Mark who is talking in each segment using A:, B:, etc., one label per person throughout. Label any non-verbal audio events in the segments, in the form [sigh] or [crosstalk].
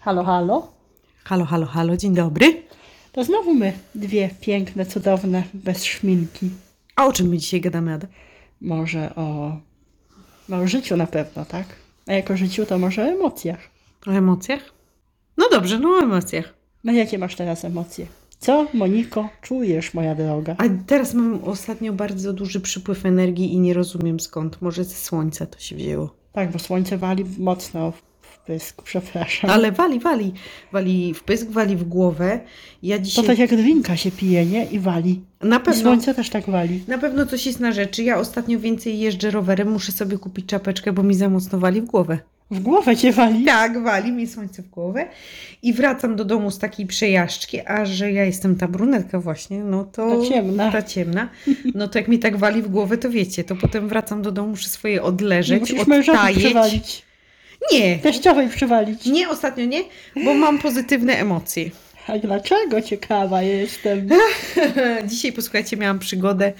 A: Halo, halo.
B: Halo, halo, halo, dzień dobry.
A: To znowu my, dwie piękne, cudowne, bez szminki.
B: A o czym my dzisiaj gadamy, Ada?
A: Może o, no, o życiu na pewno, tak? A jako życiu to może o emocjach.
B: O emocjach? No dobrze, no o emocjach.
A: No jakie masz teraz emocje? Co, Moniko, czujesz, moja droga?
B: A teraz mam ostatnio bardzo duży przypływ energii i nie rozumiem skąd. Może ze słońca to się wzięło.
A: Tak, bo słońce wali mocno w- w pysk, przepraszam.
B: Ale wali, wali. Wali w pysk, wali w głowę. Ja
A: To
B: dzisiaj...
A: tak jak drinka się pije, nie? I wali.
B: Na
A: I
B: pewno...
A: słońce też tak wali.
B: Na pewno coś jest na rzeczy. Ja ostatnio więcej jeżdżę rowerem, muszę sobie kupić czapeczkę, bo mi za mocno wali w głowę.
A: W głowę cię wali.
B: Tak, wali mi słońce w głowę i wracam do domu z takiej przejażdżki, a że ja jestem ta brunetka właśnie, no to...
A: To ciemna.
B: Ta ciemna. No to jak mi tak wali w głowę, to wiecie, to potem wracam do domu, muszę swoje
A: Nie
B: odleżeć,
A: musisz mężowi
B: odtajeć.
A: przywalić.
B: Nie,
A: Teściowej przywalić.
B: nie, ostatnio nie, bo mam pozytywne emocje. [laughs]
A: A dlaczego ciekawa jestem?
B: Dzisiaj, posłuchajcie, miałam przygodę,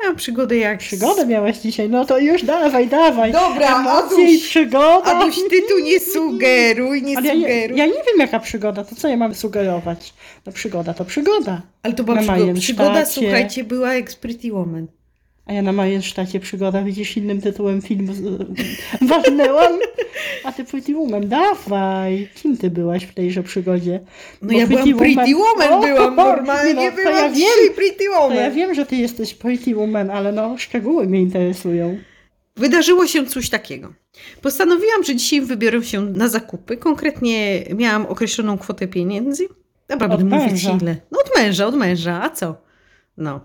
B: miałam przygodę jak...
A: Przygodę miałeś dzisiaj, no to już dawaj, dawaj.
B: Dobra,
A: Emocje i
B: No, Aduś,
A: przygoda.
B: Aduś, ty tu
A: [laughs]
B: nie sugeruj, nie
A: Ale ja, nie-
B: sugeruj.
A: ja nie wiem jaka przygoda, to co ja mam sugerować? No przygoda to przygoda.
B: Ale to była
A: Na
B: przygoda,
A: Majensztacie.
B: przygoda, słuchajcie, była jak z Pretty Woman.
A: A ja na majestacie przygoda, widzisz innym tytułem filmu z- [laughs] walnęłam. A ty Pretty Woman, dawaj. Kim ty byłaś w tejże przygodzie?
B: No
A: Bo
B: ja byłam Pretty Woman,
A: O,
B: byłam
A: o,
B: normalnie,
A: no, to
B: byłam
A: ja
B: dzisiaj
A: wiem,
B: Pretty
A: to
B: Woman.
A: ja wiem, że ty jesteś Pretty Woman, ale no szczegóły mnie interesują.
B: Wydarzyło się coś takiego. Postanowiłam, że dzisiaj wybiorę się na zakupy. Konkretnie miałam określoną kwotę pieniędzy. Dobra,
A: Od
B: będę mówić
A: męża.
B: ile. No od męża, od męża. A co? No.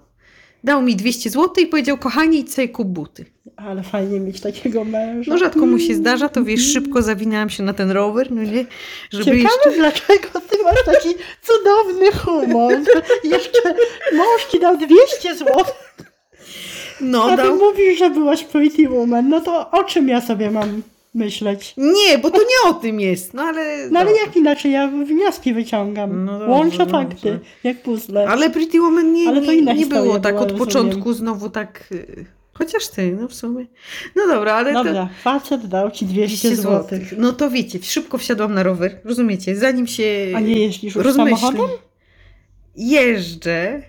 B: Dał mi 200 zł i powiedział, kochanie, idź sobie kup buty.
A: Ale fajnie mieć takiego męża. Mm.
B: No rzadko mu się zdarza, to wiesz, szybko zawinęłam się na ten rower, no nie? Żeby
A: Ciekawe,
B: jeszcze...
A: dlaczego ty masz taki cudowny humor. Jeszcze mąż ci dał 200 zł,
B: No,
A: a ty
B: dał...
A: mówisz, że byłaś pretty woman. No to o czym ja sobie mam myśleć?
B: Nie, bo to nie o tym jest. No ale...
A: No ale
B: dobra.
A: jak inaczej? Ja wnioski wyciągam.
B: No dobrze,
A: Łączę
B: dobrze.
A: fakty, jak puzzle.
B: Ale Pretty Woman nie,
A: Ale to inna
B: nie, nie
A: historia
B: było tak
A: była,
B: od
A: rozumiem.
B: początku znowu tak. y, Chociaż ty, no w sumie. No dobra, ale to.
A: Dobra, facet dał ci 200
B: 200
A: zł.
B: złotych. No to wiecie, szybko wsiadłam na rower, rozumiecie, zanim się
A: A nie jeździsz już
B: rozmyślę.
A: samochodem?
B: Jeżdżę,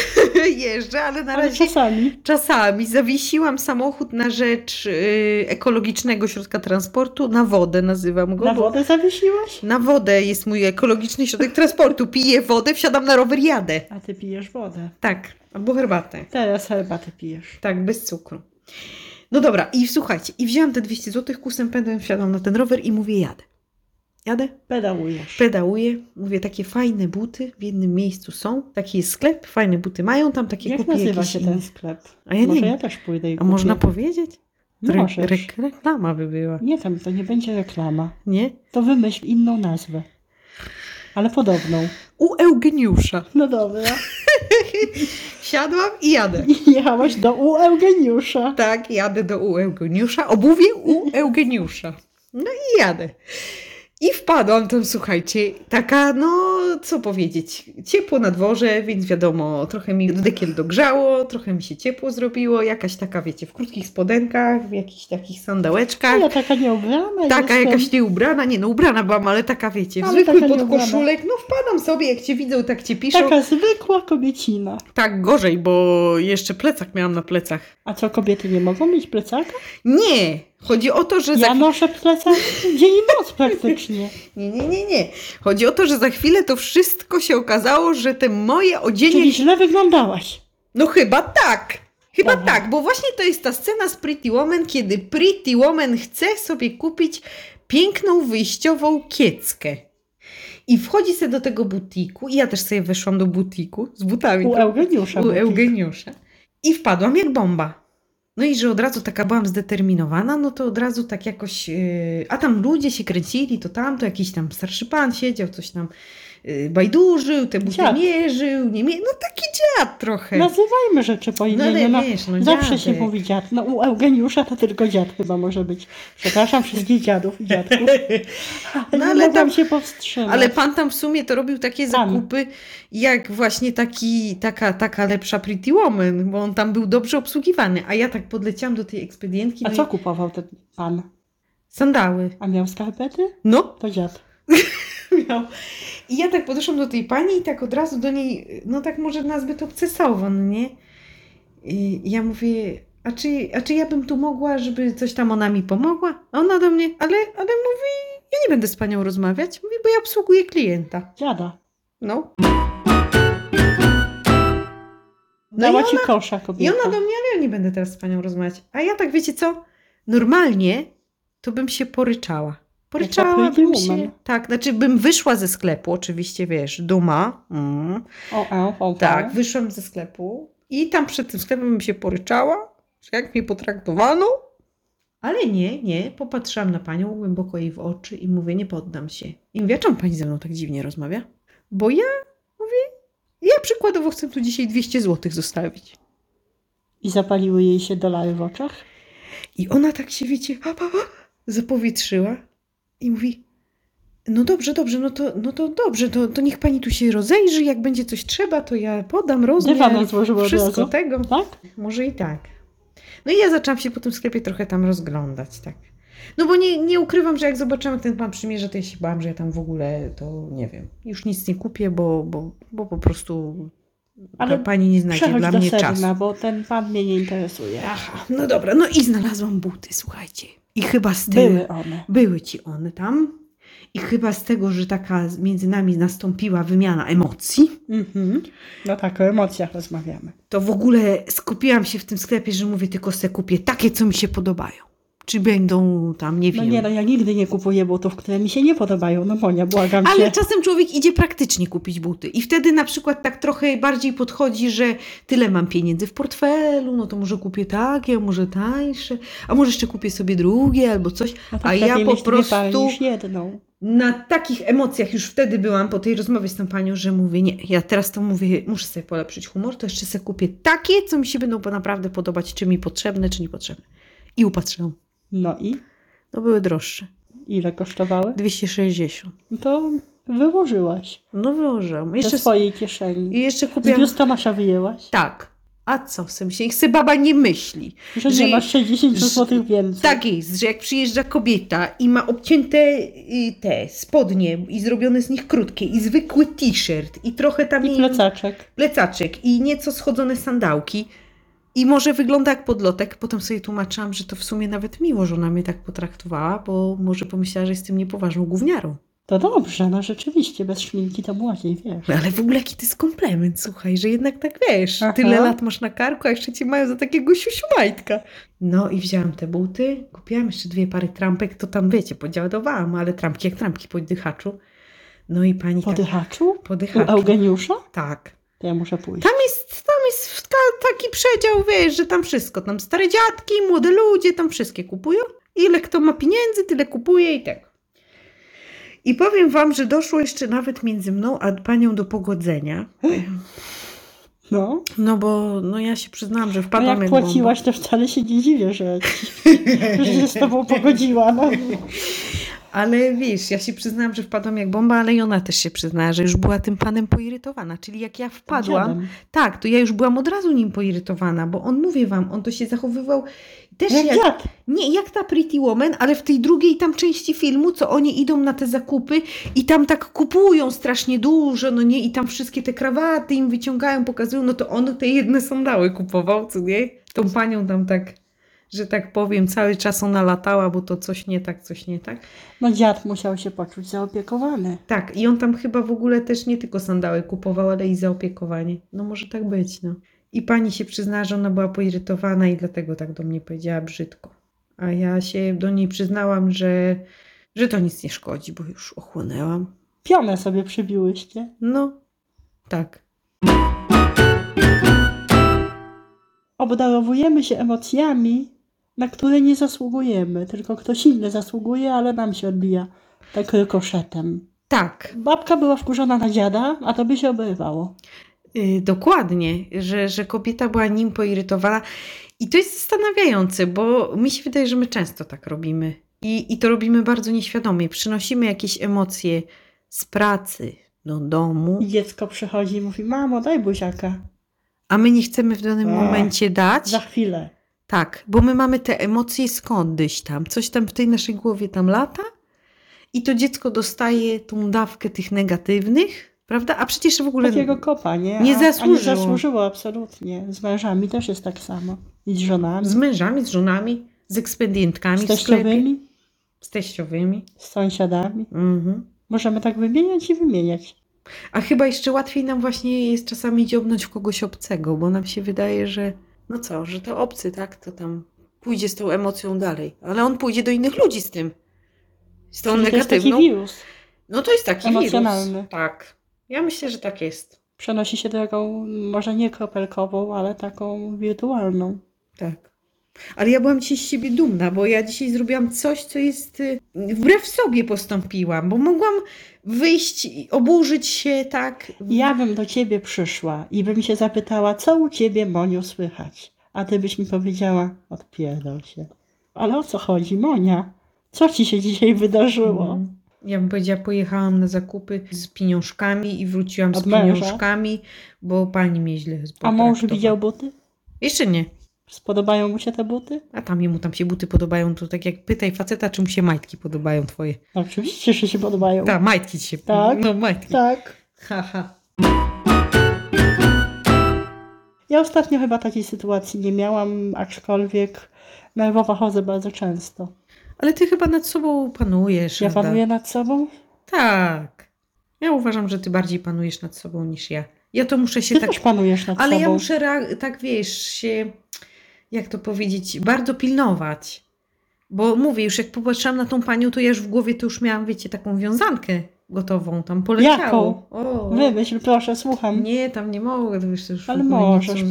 B: [laughs] jeżdżę, ale na
A: Ale
B: razie
A: czasami.
B: czasami zawiesiłam samochód na rzecz y, ekologicznego środka transportu, na wodę nazywam go.
A: Na
B: bo-
A: wodę zawiesiłaś?
B: na wodę jest mój ekologiczny środek transportu, piję wodę, wsiadam na rower, jadę.
A: A ty pijesz wodę.
B: Tak, albo herbatę.
A: Teraz herbatę pijesz.
B: Tak, bez cukru. No dobra, i słuchajcie, i wzięłam te 200 zł, kusem pędem wsiadłam na ten rower i mówię jadę. Jadę,
A: Pedałujesz.
B: pedałuję, mówię takie fajne buty w jednym miejscu są, taki jest sklep, fajne buty mają, tam takie
A: Jak
B: kupię
A: nazywa
B: jakieś
A: się
B: inne.
A: ten sklep?
B: A ja nie
A: Może ja
B: wiem.
A: też pójdę i
B: A
A: kupię.
B: można powiedzieć? Re-
A: Możesz.
B: rek- reklama by była,
A: Nie tam, to nie będzie reklama.
B: nie?
A: To wymyśl inną nazwę. Ale podobną.
B: U [laughs] Eugeniusza.
A: No dobra.
B: Wsiadłam i jadę.
A: I Jechałaś do u Eugeniusza.
B: Tak, jadę do u Eugeniusza, obuwie u Eugeniusza. No i jadę. I wpadłam tam, słuchajcie, taka, no co powiedzieć, ciepło na dworze, więc wiadomo, trochę mi dekiel dogrzało, trochę mi się ciepło zrobiło, jakaś taka, wiecie, w krótkich spodenkach, w jakichś takich sandałeczkach.
A: Ja taka nieubrana
B: Tak. Taka
A: jestem.
B: jakaś nieubrana, nie no ubrana byłam, ale taka wiecie, w
A: Ale
B: zwykły
A: taka nieubrana.
B: podkoszulek, no wpadam sobie, jak cię widzą, tak cię piszą.
A: Taka zwykła kobiecina.
B: Tak gorzej, bo jeszcze plecak miałam na plecach.
A: A co, kobiety nie mogą mieć plecaka?
B: Nie, chodzi o to, że No za
A: Ja noszę plecak dzień i noc
B: [laughs]
A: praktycznie.
B: Nie, nie, nie, nie. Chodzi o to, że za chwilę to wszystko się okazało, że te moje odzienie.
A: Czyli źle wyglądałaś.
B: No chyba tak. Chyba
A: Aha.
B: tak, bo właśnie to jest ta scena z Pretty Woman, kiedy Pretty Woman chce sobie kupić piękną wyjściową kieckę. I wchodzi sobie do tego butiku, i ja też sobie weszłam do butiku z butami.
A: U
B: trochę-
A: Eugeniusza.
B: u
A: butik.
B: Eugeniusza. I wpadłam jak bomba. No i że od razu taka byłam zdeterminowana, no to od razu tak jakoś. yy, A tam ludzie się kręcili, to tam, to jakiś tam starszy pan siedział, coś tam yy, bajdurzył, te buty
A: Dziad.
B: mierzył, nie mie... No taki dziad trochę.
A: Nazywajmy rzeczy po
B: no
A: imieniu.
B: ale
A: No,
B: wiesz, no
A: Zawsze się
B: dziadek.
A: mówi dziad. No u Eugeniusza to tylko dziad chyba może być. Przepraszam wszystkich dziadów i dziadków.
B: No,
A: No
B: ale
A: ale tam
B: tam-
A: się powstrzymać.
B: [laughs] Ale pan tam w sumie to robił takie
A: Pan.
B: zakupy, jak właśnie taki, taka, taka lepsza Pretty Woman, bo on tam był dobrze obsługiwany. A ja tak podleciałam do tej ekspedientki.
A: A
B: no i-
A: co kupował ten pan?
B: Sandały.
A: A miał skarpety?
B: No,
A: To dziad.
B: miał. I ja tak podeszłam do tej pani i tak od razu do niej, no tak może nazbyt obcesowo, no nie? I ja mówię, a czy, a czy ja bym tu mogła, żeby coś tam ona mi pomogła? A ona do mnie, ale, ale mówi, ja nie będę z panią rozmawiać, mówi, bo ja obsługuję klienta.
A: Dziada.
B: No. No i
A: Dała ci kosza
B: I
A: kobieta.
B: ona do mnie, ale ja nie będę teraz z panią rozmawiać. A ja tak, wiecie co? Normalnie to bym się poryczała. Poryczałabym
A: pretty
B: się.
A: woman.
B: Tak, znaczy bym wyszła ze sklepu, oczywiście, wiesz, duma. Mm.
A: O, e, o, o, o.
B: Tak, wyszłam ze sklepu i tam przed tym sklepem bym się poryczała, że jak mnie potraktowano. Ale nie, nie, popatrzyłam na panią głęboko jej w oczy i mówię, nie poddam się. I mówię, "A czemu pani ze mną tak dziwnie rozmawia? Bo ja, mówię, ja przykładowo chcę tu dzisiaj 200 zł zostawić.
A: I zapaliły jej się dolary w oczach.
B: I ona tak się, wiecie, a, a, a, zapowietrzyła i mówi: No dobrze, dobrze, no to, no to dobrze, to, to niech pani tu się rozejrzy, jak będzie coś trzeba, to ja podam rozmiar,
A: Dywan złożyły od
B: wszystko
A: razu.
B: tego.
A: Tak?
B: Może i tak. No i ja zaczęłam się po tym sklepie trochę tam rozglądać, tak. No bo nie, nie ukrywam, że jak zobaczyłam, jak ten pan przymierza, to ja się bałam, że ja tam w ogóle to nie wiem, już nic nie kupię, bo, bo, bo po prostu
A: Ale
B: ta pani nie znajdzie
A: Przechodź
B: dla
A: do
B: mnie
A: sedna,
B: czasu.
A: bo ten pan mnie nie interesuje.
B: Aha, no dobra, no i znalazłam buty, słuchajcie. I chyba z tego.
A: Były one.
B: Były ci one tam. I chyba z tego, że taka z- między nami nastąpiła wymiana emocji,
A: Mhm. No tak, o emocjach rozmawiamy.
B: to w ogóle skupiłam się w tym sklepie, że mówię tylko se kupię takie, co mi się podobają. Czy będą tam, nie
A: No
B: wiem.
A: nie, no ja nigdy nie kupuję butów, które mi się nie podobają. No Monia, błagam
B: Ale
A: cię.
B: czasem człowiek idzie praktycznie kupić buty i wtedy na przykład tak trochę bardziej podchodzi, że tyle mam pieniędzy w portfelu, no to może kupię takie, a może tańsze, a może jeszcze kupię sobie drugie albo coś.
A: No tak
B: A
A: lepiej
B: ja po
A: mieć dwie
B: prostu
A: pary niż jedną.
B: na takich emocjach już wtedy byłam po tej rozmowie z tą panią, że mówię, nie, ja teraz to mówię, muszę sobie polepszyć humor, to jeszcze sobie kupię takie, co mi się będą po- naprawdę podobać, czy mi potrzebne, czy niepotrzebne. I upatrzyłam.
A: No i?
B: No były droższe.
A: Ile kosztowały?
B: 260.
A: No To wyłożyłaś
B: No wyłożyłam.
A: ze
B: Jeszcze,
A: swojej kieszeni.
B: i jeszcze
A: Z
B: kupiłam.
A: biustonosza wyjęłaś,
B: Tak. A co w sensie? Chcę baba nie myśli.
A: że
B: Że-
A: nie masz 60
B: że-
A: zł więcej.
B: Tak jest, że jak przyjeżdża kobieta i ma obcięte y, te spodnie i zrobione z nich krótkie i zwykły t-shirt i trochę tam
A: I
B: jej-
A: plecaczek.
B: plecaczek i nieco schodzone sandałki. I może wygląda jak podlotek. Potem sobie tłumaczyłam, że to w sumie nawet miło, że ona mnie tak potraktowała, bo może pomyślała, że jestem niepoważną gówniarą.
A: To dobrze, no rzeczywiście, bez szminki to młodziej, wiesz.
B: No ale w ogóle jaki to jest komplement, słuchaj, że jednak tak wiesz,
A: Aha.
B: tyle lat masz na karku, a jeszcze cię mają za takiego siusiumajtka. No i wzięłam te buty, kupiłam jeszcze dwie pary trampek, to tam wiecie, podziałowałam, ale trampki jak trampki po dychaczu. No i pani
A: Po
B: tak...
A: dychaczu?
B: Po
A: U
B: dychaczu.
A: Eugeniusza?
B: Tak.
A: To ja muszę pójść.
B: Tam jest, tam jest w ta, taki przedział, wiesz, że tam wszystko, tam stare dziadki, młode ludzie, tam wszystkie kupują. Ile kto ma pieniędzy, tyle kupuje i tego. I powiem wam, że doszło jeszcze nawet między mną a panią do pogodzenia.
A: No,
B: No bo no ja się przyznałam, że
A: no
B: wpadłam
A: jak
B: bomba.
A: płaciłaś, to wcale się nie dziwię, że,
B: [laughs]
A: że się z tobą pogodziła. No.
B: Ale wiesz, ja się przyznałam, że wpadłam jak bomba, ale i ona też się przyznała, że już była tym panem poirytowana. Czyli jak ja wpadłam,
A: Dziadem.
B: tak, to ja już byłam od razu nim poirytowana, bo on, mówię wam, on to się zachowywał też
A: No Jak
B: jak,
A: dziad.
B: Nie, jak ta Pretty Woman, ale w tej drugiej tam części filmu, co oni idą na te zakupy i tam tak kupują strasznie dużo, no nie, i tam wszystkie te krawaty im wyciągają, pokazują, no to on te jedne sandały kupował, co nie? Tą panią tam tak, że tak powiem, cały czas ona latała, bo to coś nie tak, coś nie tak.
A: No dziad musiał się poczuć zaopiekowany.
B: Tak, i on tam chyba w ogóle też nie tylko sandały kupował, ale i zaopiekowanie. No może tak być, no. I pani się przyznała, że ona była poirytowana i dlatego tak do mnie powiedziała brzydko. A ja się do niej przyznałam, że, że to nic nie szkodzi, bo już ochłonęłam.
A: Pionę sobie przybiłyście.
B: No, tak.
A: Obdarowujemy się emocjami, na które nie zasługujemy, tylko ktoś inny zasługuje, ale nam się odbija tak rykoszetem.
B: Tak,
A: Babka była wkurzona na dziada, a to by się obrywało.
B: y, dokładnie, że, że kobieta była nim poirytowana. I to jest zastanawiające, bo mi się wydaje, że my często tak robimy. I, I to robimy bardzo nieświadomie. Przynosimy jakieś emocje z pracy do domu.
A: I dziecko przychodzi i mówi, mamo, daj buziaka.
B: a my nie chcemy w danym
A: Ach,
B: momencie dać.
A: Za chwilę.
B: Tak, bo my mamy te emocje skądś tam, coś tam w tej naszej głowie tam lata i to dziecko dostaje tą dawkę tych negatywnych, prawda? A przecież w ogóle...
A: Takiego kopa, nie?
B: nie
A: A,
B: zasłużyło.
A: A nie zasłużyło, absolutnie. Z mężami też jest tak samo. I z żonami.
B: Z mężami, z żonami, z ekspedientkami
A: Z
B: w sklepie.
A: teściowymi,
B: Z teściowymi.
A: z sąsiadami.
B: Mhm.
A: Możemy tak wymieniać i wymieniać.
B: A chyba jeszcze łatwiej nam właśnie jest czasami dziobnąć w kogoś obcego, bo nam się wydaje, że no co, że to obcy, tak, to tam pójdzie z tą emocją dalej. Ale on pójdzie do innych ludzi z tym. Z tą
A: Czyli to jest taki
B: negatywną.
A: wirus.
B: no to jest taki
A: emocjonalny.
B: wirus. Tak. Ja myślę, że tak jest.
A: Przenosi się drogą, może nie kropelkową, ale taką wirtualną.
B: Tak. Ale ja byłam dzisiaj z siebie dumna, bo ja dzisiaj zrobiłam coś, co jest. y, Wbrew sobie postąpiłam, bo mogłam wyjść i oburzyć się tak.
A: Ja bym do ciebie przyszła i bym się zapytała, co u ciebie, Moniu, słychać? A ty byś mi powiedziała, odpierdol się. Ale o co chodzi, Monia? Co ci się dzisiaj wydarzyło?
B: Mm. Ja bym powiedziała, pojechałam na zakupy z pieniążkami i wróciłam
A: Od
B: z
A: męża?
B: pieniążkami, bo pani mnie źle
A: A mąż
B: potraktowała.
A: widział buty?
B: Jeszcze nie.
A: Spodobają mu się te buty?
B: A tam jemu tam się buty podobają, to tak jak pytaj faceta, czy mu się majtki podobają twoje.
A: Oczywiście, że się podobają.
B: Tak, majtki ci się
A: Tak.
B: No majtki.
A: Tak.
B: Haha.
A: Ja ostatnio chyba takiej sytuacji nie miałam, aczkolwiek nerwowo chodzę bardzo często.
B: Ale ty chyba nad sobą panujesz.
A: Ja
B: Ada.
A: panuję nad sobą?
B: Tak. Ja uważam, że ty bardziej panujesz nad sobą niż ja. Ja to muszę się
A: Ty
B: tak.
A: też panujesz nad
B: Ale
A: sobą.
B: ja muszę, rea- tak wiesz, się, jak to powiedzieć, bardzo pilnować. Bo mówię, już jak popatrzyłam na tą panią, to ja już w głowie to już miałam, wiecie, taką wiązankę gotową, tam poleciało. O,
A: Wymyśl, proszę, słucham.
B: nie, tam nie mogę, to wiesz, to już w
A: Ale
B: ogóle nie
A: możesz, proszę,
B: chcą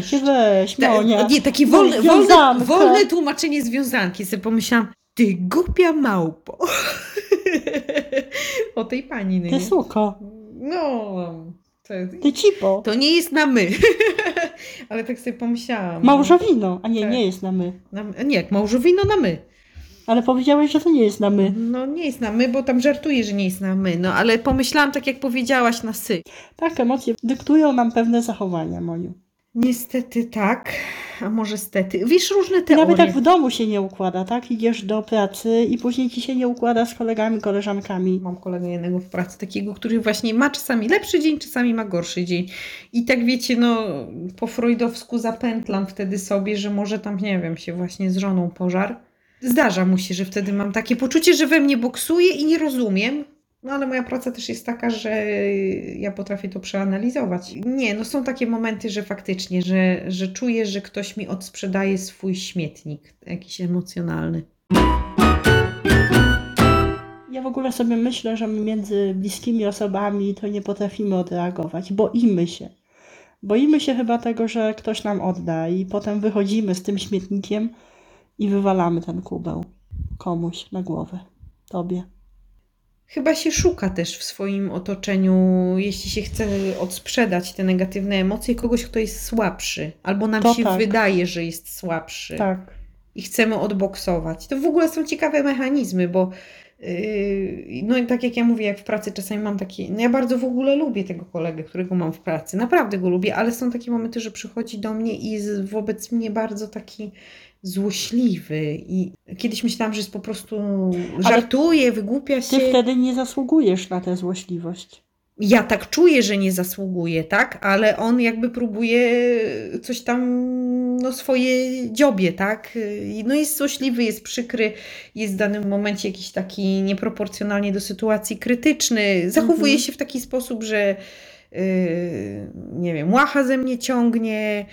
B: znaleźć.
A: się weź, no
B: Ta,
A: Monia.
B: nie, takie wolne, wolne,
A: Wiązanka.
B: wolne tłumaczenie związanki. Sobie pomyślałam, ty głupia małpo. [laughs] o tej pani, no
A: Ty
B: nie?
A: suko,
B: No, to, jest-
A: ty cipo,
B: to nie jest na my. [laughs] Ale tak sobie pomyślałam.
A: małżowino. A nie,
B: Tak.
A: nie jest na my.
B: Na, nie, jak małżowino na my.
A: Ale powiedziałeś, że to nie jest na my.
B: No nie jest na my, bo tam żartuję, że nie jest na my. No ale pomyślałam tak, jak powiedziałaś, na sy.
A: Tak, emocje dyktują nam pewne zachowania, Moniu.
B: Niestety tak, a może stety. Wiesz, różne
A: Ty
B: teorie.
A: nawet tak w domu się nie układa, tak? Idziesz do pracy i później ci się nie układa z kolegami, koleżankami.
B: Mam kolegę jednego w pracy, takiego, który właśnie ma czasami lepszy dzień, czasami ma gorszy dzień. I tak wiecie, no po freudowsku zapętlam wtedy sobie, że może tam, nie wiem, się właśnie z żoną pożar. Zdarza mu się, że wtedy mam takie poczucie, że we mnie boksuje i nie rozumiem. No ale moja praca też jest taka, że ja potrafię to przeanalizować. Nie, no są takie momenty, że faktycznie, że, że czuję, że ktoś mi odsprzedaje swój śmietnik jakiś emocjonalny.
A: Ja w ogóle sobie myślę, że my między bliskimi osobami to nie potrafimy odreagować. Boimy się. Boimy się chyba tego, że ktoś nam odda i potem wychodzimy z tym śmietnikiem i wywalamy ten kubeł komuś na głowę. Tobie.
B: Chyba się szuka też w swoim otoczeniu, jeśli się chce odsprzedać te negatywne emocje, kogoś, kto jest słabszy, albo nam
A: To
B: się
A: tak.
B: wydaje, że jest słabszy
A: Tak.
B: i chcemy odboksować. To w ogóle są ciekawe mechanizmy, bo yy, no i tak jak ja mówię, jak w pracy czasami mam takie, no ja bardzo w ogóle lubię tego kolegę, którego mam w pracy, naprawdę go lubię, ale są takie momenty, że przychodzi do mnie i jest wobec mnie bardzo taki złośliwy i kiedyś myślałam, że jest po prostu żartuje, wygłupia się.
A: Ty wtedy nie zasługujesz na tę złośliwość.
B: ja tak czuję, że nie zasługuje, tak? Ale on jakby próbuje coś tam, no swoje dziobie, tak? I No jest złośliwy, jest przykry, jest w danym momencie jakiś taki nieproporcjonalnie do sytuacji krytyczny. Zachowuje
A: Mhm.
B: się w taki sposób, że yy, nie wiem, łacha ze mnie ciągnie.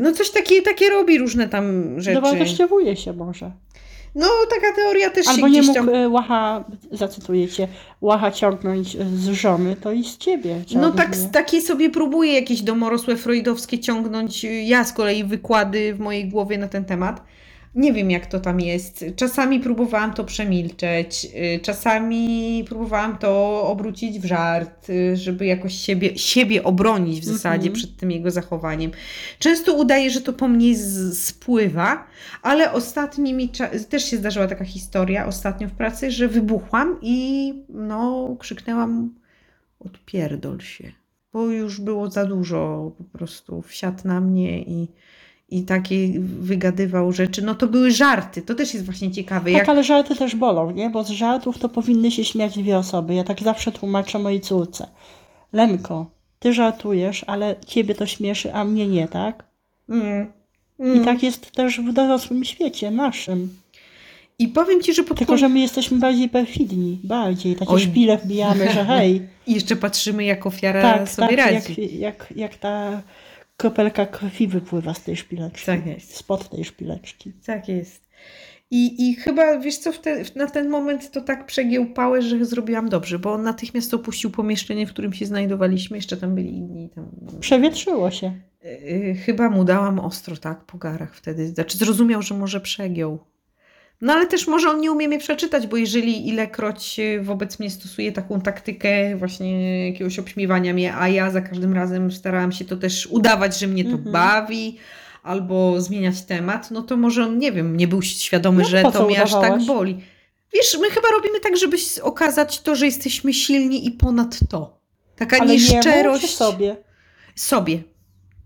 B: No coś takie, takie robi różne tam rzeczy.
A: Dowartościowuje No, się może.
B: No taka teoria też
A: Albo
B: się
A: nie
B: gdzieś
A: mógł
B: tam...
A: e, łacha, zacytuję cię, łacha ciągnąć e, z żony, to i z ciebie
B: No
A: ciągnie.
B: tak, takie sobie próbuję jakieś domorosłe freudowskie ciągnąć. y, Ja z kolei wykłady w mojej głowie na ten temat. Nie wiem, jak to tam jest. Czasami próbowałam to przemilczeć, y, czasami próbowałam to obrócić w żart, y, żeby jakoś siebie, siebie obronić w
A: Mhm.
B: zasadzie przed tym jego zachowaniem. Często udaje, że to po mnie z- spływa, ale ostatnimi mi cza- też się zdarzyła taka historia ostatnio w pracy, że wybuchłam i no, krzyknęłam odpierdol się, bo już było za dużo po prostu wsiadł na mnie i, i takie wygadywał rzeczy, no to były żarty. To też jest właśnie ciekawe. Jak...
A: Tak, ale żarty też bolą, nie? Bo z żartów to powinny się śmiać dwie osoby. Ja tak zawsze tłumaczę mojej córce. Lenko, ty żartujesz, ale ciebie to śmieszy, a mnie nie, tak?
B: Mm,
A: I
B: mm.
A: tak jest też w dorosłym świecie naszym.
B: I powiem ci, że pod
A: Tylko,
B: kąt-
A: że my jesteśmy bardziej perfidni, bardziej. Takie
B: Oj.
A: szpile wbijamy,
B: [laughs]
A: że hej,
B: I jeszcze patrzymy, jak ofiara
A: tak,
B: sobie
A: tak,
B: radzi.
A: jak, jak, jak ta kropelka krwi wypływa z tej szpileczki.
B: Tak jest.
A: Spod tej szpileczki.
B: Tak jest. I, I chyba, wiesz co, w te, w, na ten moment to tak przegiełpałeś, że zrobiłam dobrze, bo on natychmiast opuścił pomieszczenie, w którym się znajdowaliśmy. Jeszcze tam byli inni. Tam,
A: Przewietrzyło się.
B: yy, chyba mu dałam ostro, tak, po garach wtedy. Znaczy zrozumiał, że może przegiął. No ale też może on nie umie mnie przeczytać, bo jeżeli ilekroć yy, wobec mnie stosuje taką taktykę właśnie jakiegoś obśmiewania mnie, a ja za każdym razem starałam się to też udawać, że mnie to
A: Mhm.
B: bawi, albo zmieniać temat, no to może on, nie wiem, nie był świadomy,
A: No,
B: że
A: po
B: to
A: co
B: mnie aż tak
A: udawałaś?
B: boli. Wiesz, my chyba robimy tak, żeby s- okazać to, że jesteśmy silni i ponad to. Taka
A: Ale jemu
B: nieszczerość
A: czy sobie?
B: sobie.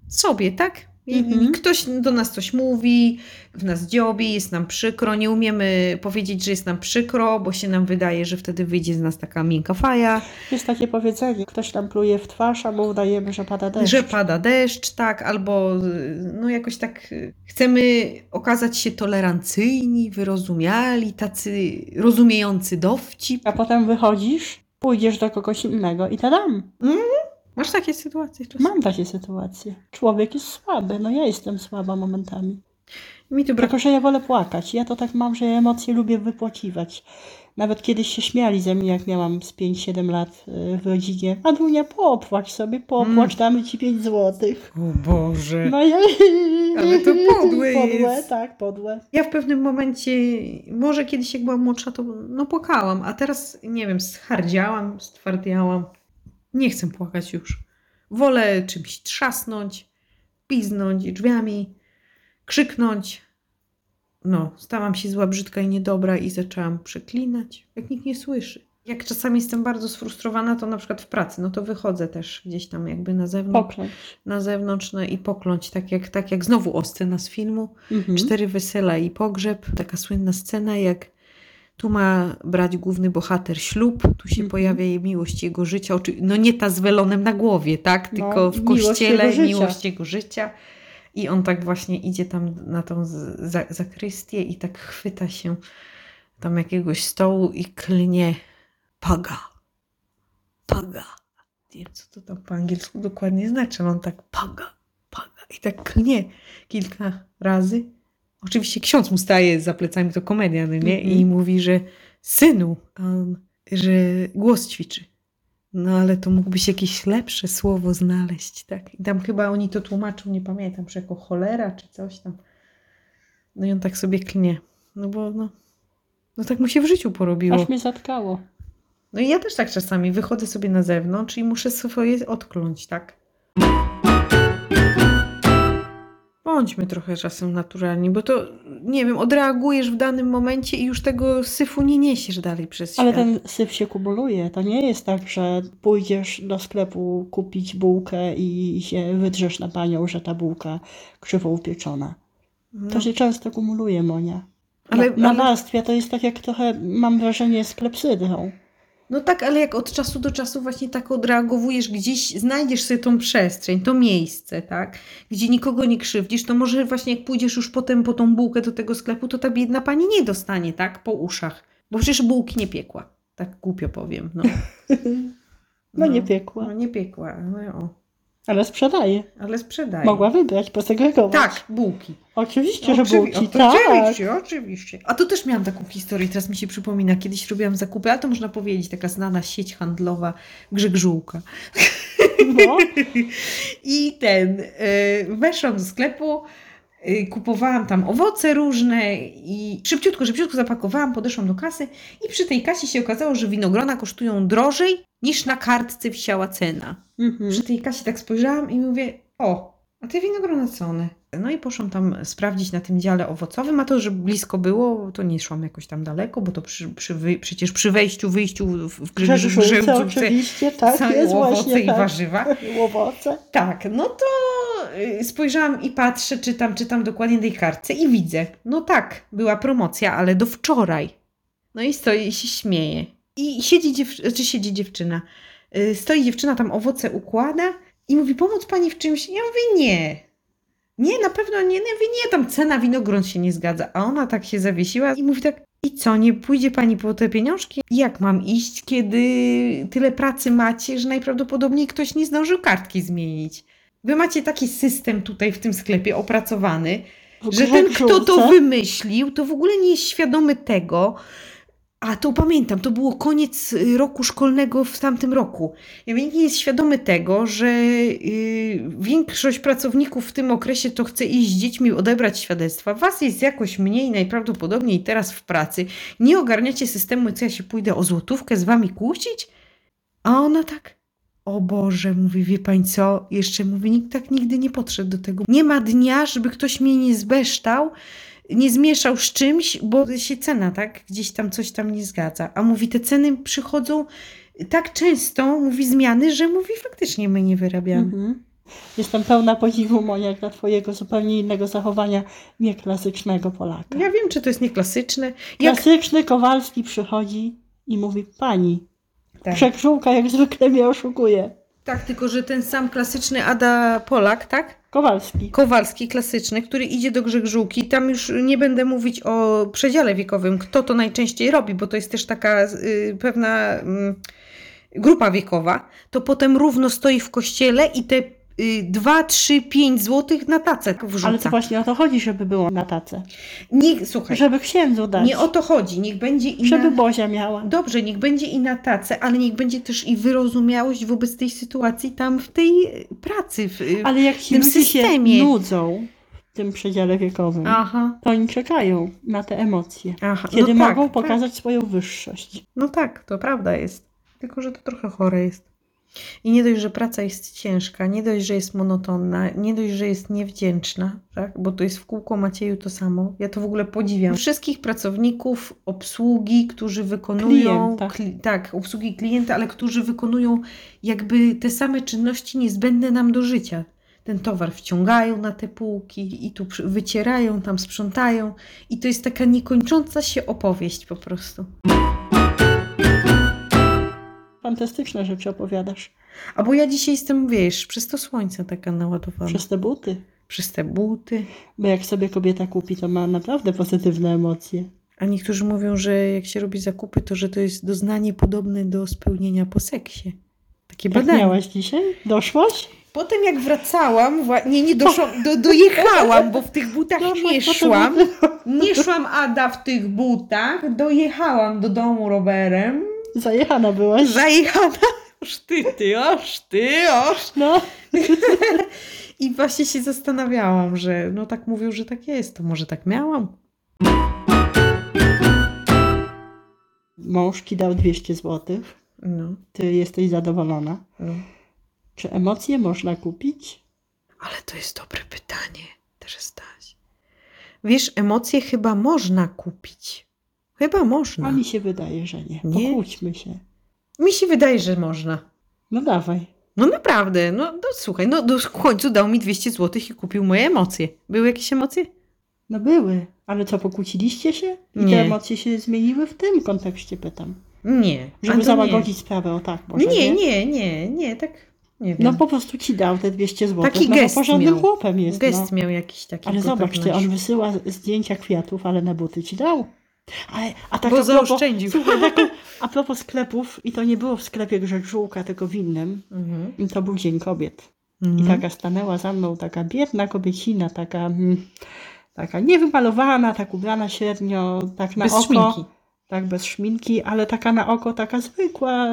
B: Sobie, tak? I-
A: Mhm.
B: i Ktoś do nas coś mówi, w nas dziobi, jest nam przykro, nie umiemy powiedzieć, że jest nam przykro, bo się nam wydaje, że wtedy wyjdzie z nas taka miękka faja,
A: Jest takie powiedzenie, ktoś nam pluje w twarz, a my udajemy, że pada deszcz.
B: że pada deszcz, tak, albo y, no jakoś tak y, chcemy okazać się tolerancyjni, wyrozumiali, tacy rozumiejący dowcip.
A: A potem wychodzisz, pójdziesz do kogoś innego i tadam.
B: Masz takie sytuacje czasem?
A: Mam takie sytuacje. Człowiek jest słaby, no ja jestem słaba momentami.
B: Mi tu brak...
A: Tylko, że ja wolę płakać. Ja to tak mam, że ja emocje lubię wypłakiwać. Nawet kiedyś się śmiali ze mnie, jak miałam z 5-7 lat y, w rodzinie. Adunia, popłacz sobie,
B: Mm.
A: popłacz, damy ci 5 złotych.
B: O Boże.
A: No ja...
B: Y, Ale to podłe
A: [laughs] Podłe,
B: jest.
A: tak, podłe.
B: Ja w pewnym momencie, może kiedyś jak byłam młodsza, to no płakałam, a teraz nie wiem, schardziałam, stwardiałam. Nie chcę płakać już. Wolę czymś trzasnąć, piznąć drzwiami, krzyknąć. No, stałam się zła, brzydka i niedobra i zaczęłam przeklinać, jak nikt nie słyszy. Jak czasami jestem bardzo sfrustrowana, to na przykład w pracy, no to wychodzę też gdzieś tam jakby na zewnątrz,
A: Pokląć.
B: na zewnątrz no, i pokląć, tak jak, tak jak znowu o scenę z filmu.
A: Mhm.
B: Cztery wesela i pogrzeb. Taka słynna scena, jak tu ma brać główny bohater ślub, tu się
A: Mhm.
B: pojawia jej miłość jego życia. Oczy- No nie ta z welonem na głowie,
A: No,
B: tak? Tylko w
A: miłość
B: kościele
A: jego życia.
B: miłość jego życia. I on tak właśnie idzie tam na tą z- za- zakrystię i tak chwyta się tam jakiegoś stołu i klnie paga. Paga. Nie wiem, co to tam po angielsku dokładnie znaczy, ale on tak paga, paga i tak klnie kilka razy. Oczywiście ksiądz mu staje za plecami, to komedia, no nie? I
A: Mhm.
B: mówi, że synu, a on, że głos ćwiczy. No ale to mógłbyś jakieś lepsze słowo znaleźć, tak? I tam chyba oni to tłumaczą, nie pamiętam, że jako cholera czy coś tam. No i on tak sobie klnie. No bo no, no tak mu się w życiu porobiło.
A: Aż mnie zatkało.
B: No i ja też tak czasami wychodzę sobie na zewnątrz i muszę swoje odkląć, tak? Bądźmy trochę czasem naturalni, bo to, nie wiem, odreagujesz w danym momencie i już tego syfu nie niesiesz dalej przez
A: Ale
B: świat.
A: ten syf się kumuluje. To nie jest tak, że pójdziesz do sklepu kupić bułkę i się wydrzesz na panią, że ta bułka krzywo upieczona.
B: No,
A: To się często kumuluje, Monia.
B: ale,
A: na,
B: ale,
A: nawarstwia to jest tak jak trochę, mam wrażenie, z klepsydrą.
B: [laughs] no tak, ale jak od czasu do czasu właśnie tak odreagowujesz gdzieś, znajdziesz sobie tą przestrzeń, to miejsce, tak? Gdzie nikogo nie krzywdzisz, to może właśnie jak pójdziesz już potem po tą bułkę do tego sklepu, to ta biedna pani nie dostanie, tak? Po uszach. Bo przecież bułki nie piekła. Tak głupio powiem, no.
A: [laughs] No nie piekła.
B: No nie piekła, no o.
A: Ale sprzedaje.
B: Ale sprzedaje.
A: Mogła wybrać, posegregować.
B: Tak, bułki.
A: Oczywiście, że
B: Oczywi-
A: bułki.
B: o,
A: Tak.
B: Oczywiście, oczywiście. A to też miałam taką historię, teraz mi się przypomina. Kiedyś robiłam zakupy, a to można powiedzieć, taka znana sieć handlowa Grzegżółka.
A: No.
B: [laughs] I ten, y, weszłam do sklepu, y, kupowałam tam owoce różne i szybciutko, szybciutko zapakowałam, podeszłam do kasy i przy tej kasie się okazało, że winogrona kosztują drożej niż na kartce wisiała cena.
A: Mhm.
B: Przy tej kasie tak spojrzałam i mówię, o, a te winogrona co one? No i poszłam tam sprawdzić na tym dziale owocowym, a to, że blisko było, to nie szłam jakoś tam daleko, bo to przy, przy, wy- przecież przy wejściu, wyjściu w, w
A: Grzeżuszulce
B: Grzeżuszulce
A: oczywiście, tak
B: są
A: jest
B: owoce
A: właśnie
B: i
A: tak.
B: warzywa.
A: Łowoce.
B: Tak, no to y, spojrzałam i patrzę, czytam, czytam dokładnie tej kartce i widzę. No tak, była promocja, ale do wczoraj. No i stoi i się śmieje. I siedzi, dziew- czy siedzi dziewczyna. Y, Stoi dziewczyna, tam owoce układa i mówi, pomóc pani w czymś? Ja mówię, nie. Nie, na pewno nie. No Ja mówię, nie, tam cena winogron się nie zgadza. A ona tak się zawiesiła i mówi tak, i co, nie pójdzie pani po te pieniążki? Jak mam iść, kiedy tyle pracy macie, że najprawdopodobniej ktoś nie zdążył kartki zmienić? Wy macie taki system tutaj w tym sklepie opracowany,
A: W
B: że ten, kto to
A: grzeczówce-
B: wymyślił, to w ogóle nie jest świadomy tego. A to pamiętam, to było koniec y, roku szkolnego w tamtym roku. Ja mówię, Nikt nie jest świadomy tego, że y, większość pracowników w tym okresie to chce iść z dziećmi, odebrać świadectwa. Was jest jakoś mniej najprawdopodobniej teraz w pracy. Nie ogarniacie systemu, co ja się pójdę o złotówkę z wami kłócić? A ona tak, o Boże, mówi, wie pani co? Jeszcze mówi, nikt tak nigdy nie podszedł do tego. Nie ma dnia, żeby ktoś mnie nie zbeształ, nie zmieszał z czymś, bo się cena, tak? Gdzieś tam coś tam nie zgadza. A mówi, te ceny przychodzą tak często, mówi zmiany, że mówi, faktycznie my nie wyrabiamy.
A: Mhm. Jestem pełna podziwu, Monia, dla twojego zupełnie innego zachowania, nie klasycznego Polaka.
B: Ja wiem, czy to jest nieklasyczne. Jak...
A: Klasyczny Kowalski przychodzi i mówi, pani,
B: Tak.
A: przekrzółka jak zwykle mnie oszukuje.
B: tak, tylko że ten sam klasyczny Ada Polak, tak?
A: Kowalski.
B: Kowalski klasyczny, który idzie do Grzegżółki. Tam już nie będę mówić o przedziale wiekowym, kto to najczęściej robi, bo to jest też taka y, pewna mm, grupa wiekowa. To potem równo stoi w kościele i te y, 2, 3, 5 złotych na tacę
A: Ale to
B: wrzuca.
A: właśnie o to chodzi, żeby było na tace.
B: Niech, słuchaj,
A: Żeby księdzu dać.
B: nie o to chodzi. Niech będzie i
A: Żeby
B: na...
A: Bozia miała.
B: Dobrze, niech będzie i na tacę, ale niech będzie też i wyrozumiałość wobec tej sytuacji tam w tej y, pracy. W, y,
A: Ale jak ci
B: tym
A: ludzie
B: systemie.
A: się nudzą w tym przedziale wiekowym,
B: Aha,
A: to oni czekają na te emocje.
B: aha. No
A: Kiedy
B: tak,
A: mogą
B: tak.
A: pokazać swoją wyższość.
B: No tak, to prawda jest. Tylko, że to trochę chore jest. I nie dość, że praca jest ciężka, nie dość, że jest monotonna, nie dość, że jest niewdzięczna, tak? bo to jest w kółko Macieju to samo. Ja to w ogóle podziwiam. Wszystkich pracowników obsługi, którzy wykonują.
A: Klienta.
B: kli- tak, obsługi klienta, ale którzy wykonują jakby te same czynności niezbędne nam do życia. Ten towar wciągają na te półki i tu przy- wycierają, tam sprzątają. I to jest taka niekończąca się opowieść po prostu.
A: Fantastyczne rzeczy opowiadasz.
B: A bo ja dzisiaj jestem, wiesz, przez to słońce taka naładowana. Przez,
A: Przez te buty.
B: te buty.
A: Bo jak sobie kobieta kupi, to ma naprawdę pozytywne emocje.
B: A niektórzy mówią, że jak się robi zakupy, to że to jest doznanie podobne do spełnienia po seksie. Takie
A: Jak
B: badania.
A: Tak miałaś dzisiaj? Doszłaś?
B: Potem jak wracałam, wła- nie, nie doszłam, do, dojechałam, bo no, w no tych butach
A: Doszłaś
B: Tak, nie
A: po te
B: szłam.
A: buty?
B: Nie szłam Ada w tych butach, dojechałam do domu rowerem.
A: Zajechana byłaś.
B: [laughs] Zajechana. Oż ty, ty, oż ty, oż
A: No,
B: [laughs] I właśnie się zastanawiałam, że no tak mówił, że tak jest, to może tak miałam.
A: mąż ci dał 200 zł.
B: No,
A: Ty jesteś zadowolona.
B: no.
A: Czy emocje można kupić?
B: Ale to jest dobre pytanie, też Staś. Wiesz, emocje chyba można kupić. Chyba
A: A
B: można.
A: mi się wydaje, że nie.
B: No. Nie.
A: Pokłóćmy się.
B: Mi się wydaje, że można.
A: No dawaj.
B: No naprawdę, no, no słuchaj, no do, w końcu dał mi 200 zł i kupił moje emocje. Były jakieś emocje?
A: No były. Ale co, pokłóciliście się? I
B: Nie.
A: te emocje się zmieniły w tym kontekście, pytam.
B: Nie. a
A: Żeby
B: to
A: załagodzić sprawę, o tak może,
B: Nie.
A: nie?
B: nie, nie, nie, nie, tak nie wiem.
A: No po prostu ci dał te 200 zł.
B: Taki
A: no,
B: gest
A: bo porządnym
B: miał.
A: chłopem jest, no.
B: Gest miał jakiś taki.
A: Ale
B: ku
A: zobacz, ty, on
B: pewności.
A: wysyła zdjęcia kwiatów, ale na buty ci dał. A, a tak
B: Bo
A: a
B: zaoszczędził.
A: Słuchaj, tak, a propos sklepów, i to nie było w sklepie Grzegżółka, tylko w innym,
B: Mhm.
A: to był Dzień Kobiet. I tak,
B: Mhm.
A: taka stanęła za mną, taka biedna kobiecina, taka, mm, taka niewymalowana, tak ubrana średnio, tak na
B: Bez
A: oko.
B: szminki.
A: Tak, bez szminki, ale taka na oko, taka zwykła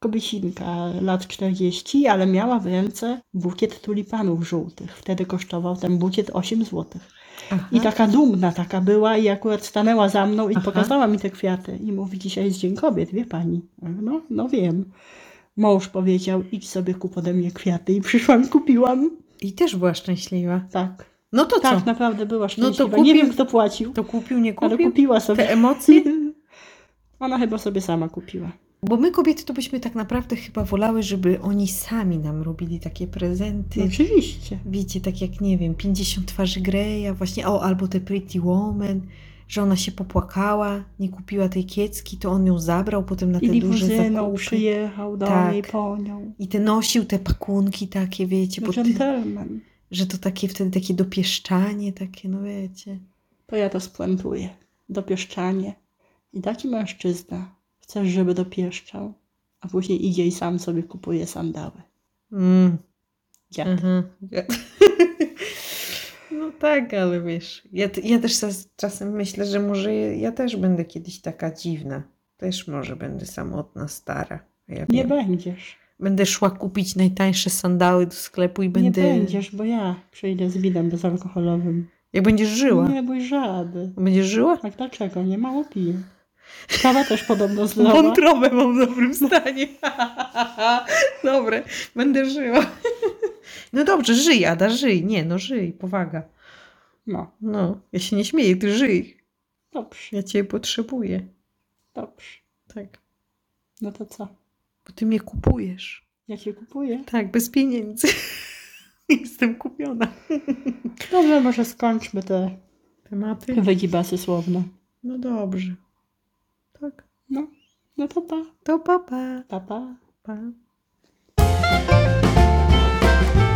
A: kobiecinka, lat 40, ale miała w ręce bukiet tulipanów żółtych. Wtedy kosztował ten bukiet 8 złotych.
B: Aha.
A: I taka dumna taka była i akurat stanęła za mną i
B: Aha.
A: pokazała mi te kwiaty. I mówi, dzisiaj jest Dzień Kobiet, wie pani? A No, no wiem. Mąż powiedział, idź sobie kup ode mnie kwiaty. I przyszłam, kupiłam.
B: I też była szczęśliwa.
A: Tak,
B: No to
A: tak,
B: co?
A: naprawdę była
B: No to
A: szczęśliwa.
B: kupił-
A: Nie wiem, kto płacił,
B: To kupił, nie
A: ale
B: kupił?
A: kupiła sobie.
B: Te emocje?
A: Ona chyba sobie sama kupiła.
B: [laughs] Bo my kobiety to byśmy tak naprawdę chyba wolały, żeby oni sami nam robili takie prezenty.
A: No, Oczywiście.
B: Wiecie, tak jak nie wiem, 50 twarzy Greya, właśnie, o, albo te Pretty Woman, że ona się popłakała, nie kupiła tej kiecki, to on ją zabrał potem na te
A: I
B: duże
A: limuzyną
B: zakupy.
A: przyjechał do
B: Tak.
A: niej po nią.
B: I te nosił te pakunki takie, wiecie,
A: No,
B: bo ty,
A: Gentleman.
B: że to takie wtedy takie dopieszczanie, takie, no wiecie.
A: To ja to spuentuję. Dopieszczanie. I taki mężczyzna. Chcesz, żeby dopieszczał, a później idzie i sam sobie kupuje sandały.
B: Mm.
A: Ja.
B: Aha. Ja- [laughs] No tak, ale wiesz, ja, t- ja też zas- czasem myślę, że może ja- ja też będę kiedyś taka dziwna. Też może będę samotna, stara. Ja
A: Nie
B: wiem.
A: będziesz.
B: Będę szła kupić najtańsze sandały do sklepu i będę...
A: Nie będziesz, bo ja przyjdę z winem bezalkoholowym.
B: Jak będziesz żyła.
A: Nie bój żady.
B: Będziesz żyła?
A: Tak dlaczego? Nie mało piję. Kawa też podobno zlała.
B: Wątrobę mam w dobrym stanie. [laughs] Dobre, będę żyła. [laughs] No dobrze, żyj Ada, żyj. Nie, no żyj, powaga.
A: No,
B: No, ja się nie śmieję, ty żyj.
A: dobrze,
B: Ja cię potrzebuję.
A: dobrze.
B: Tak.
A: No to co?
B: Bo ty mnie kupujesz.
A: Ja cię kupuję?
B: Tak, bez pieniędzy. [laughs] Jestem kupiona.
A: Dobrze, może skończmy te
B: Tematy?
A: wygibasy słowne.
B: No dobrze. Tak.
A: No, no to pa,
B: To pa, pa.
A: pa, pa.
B: pa.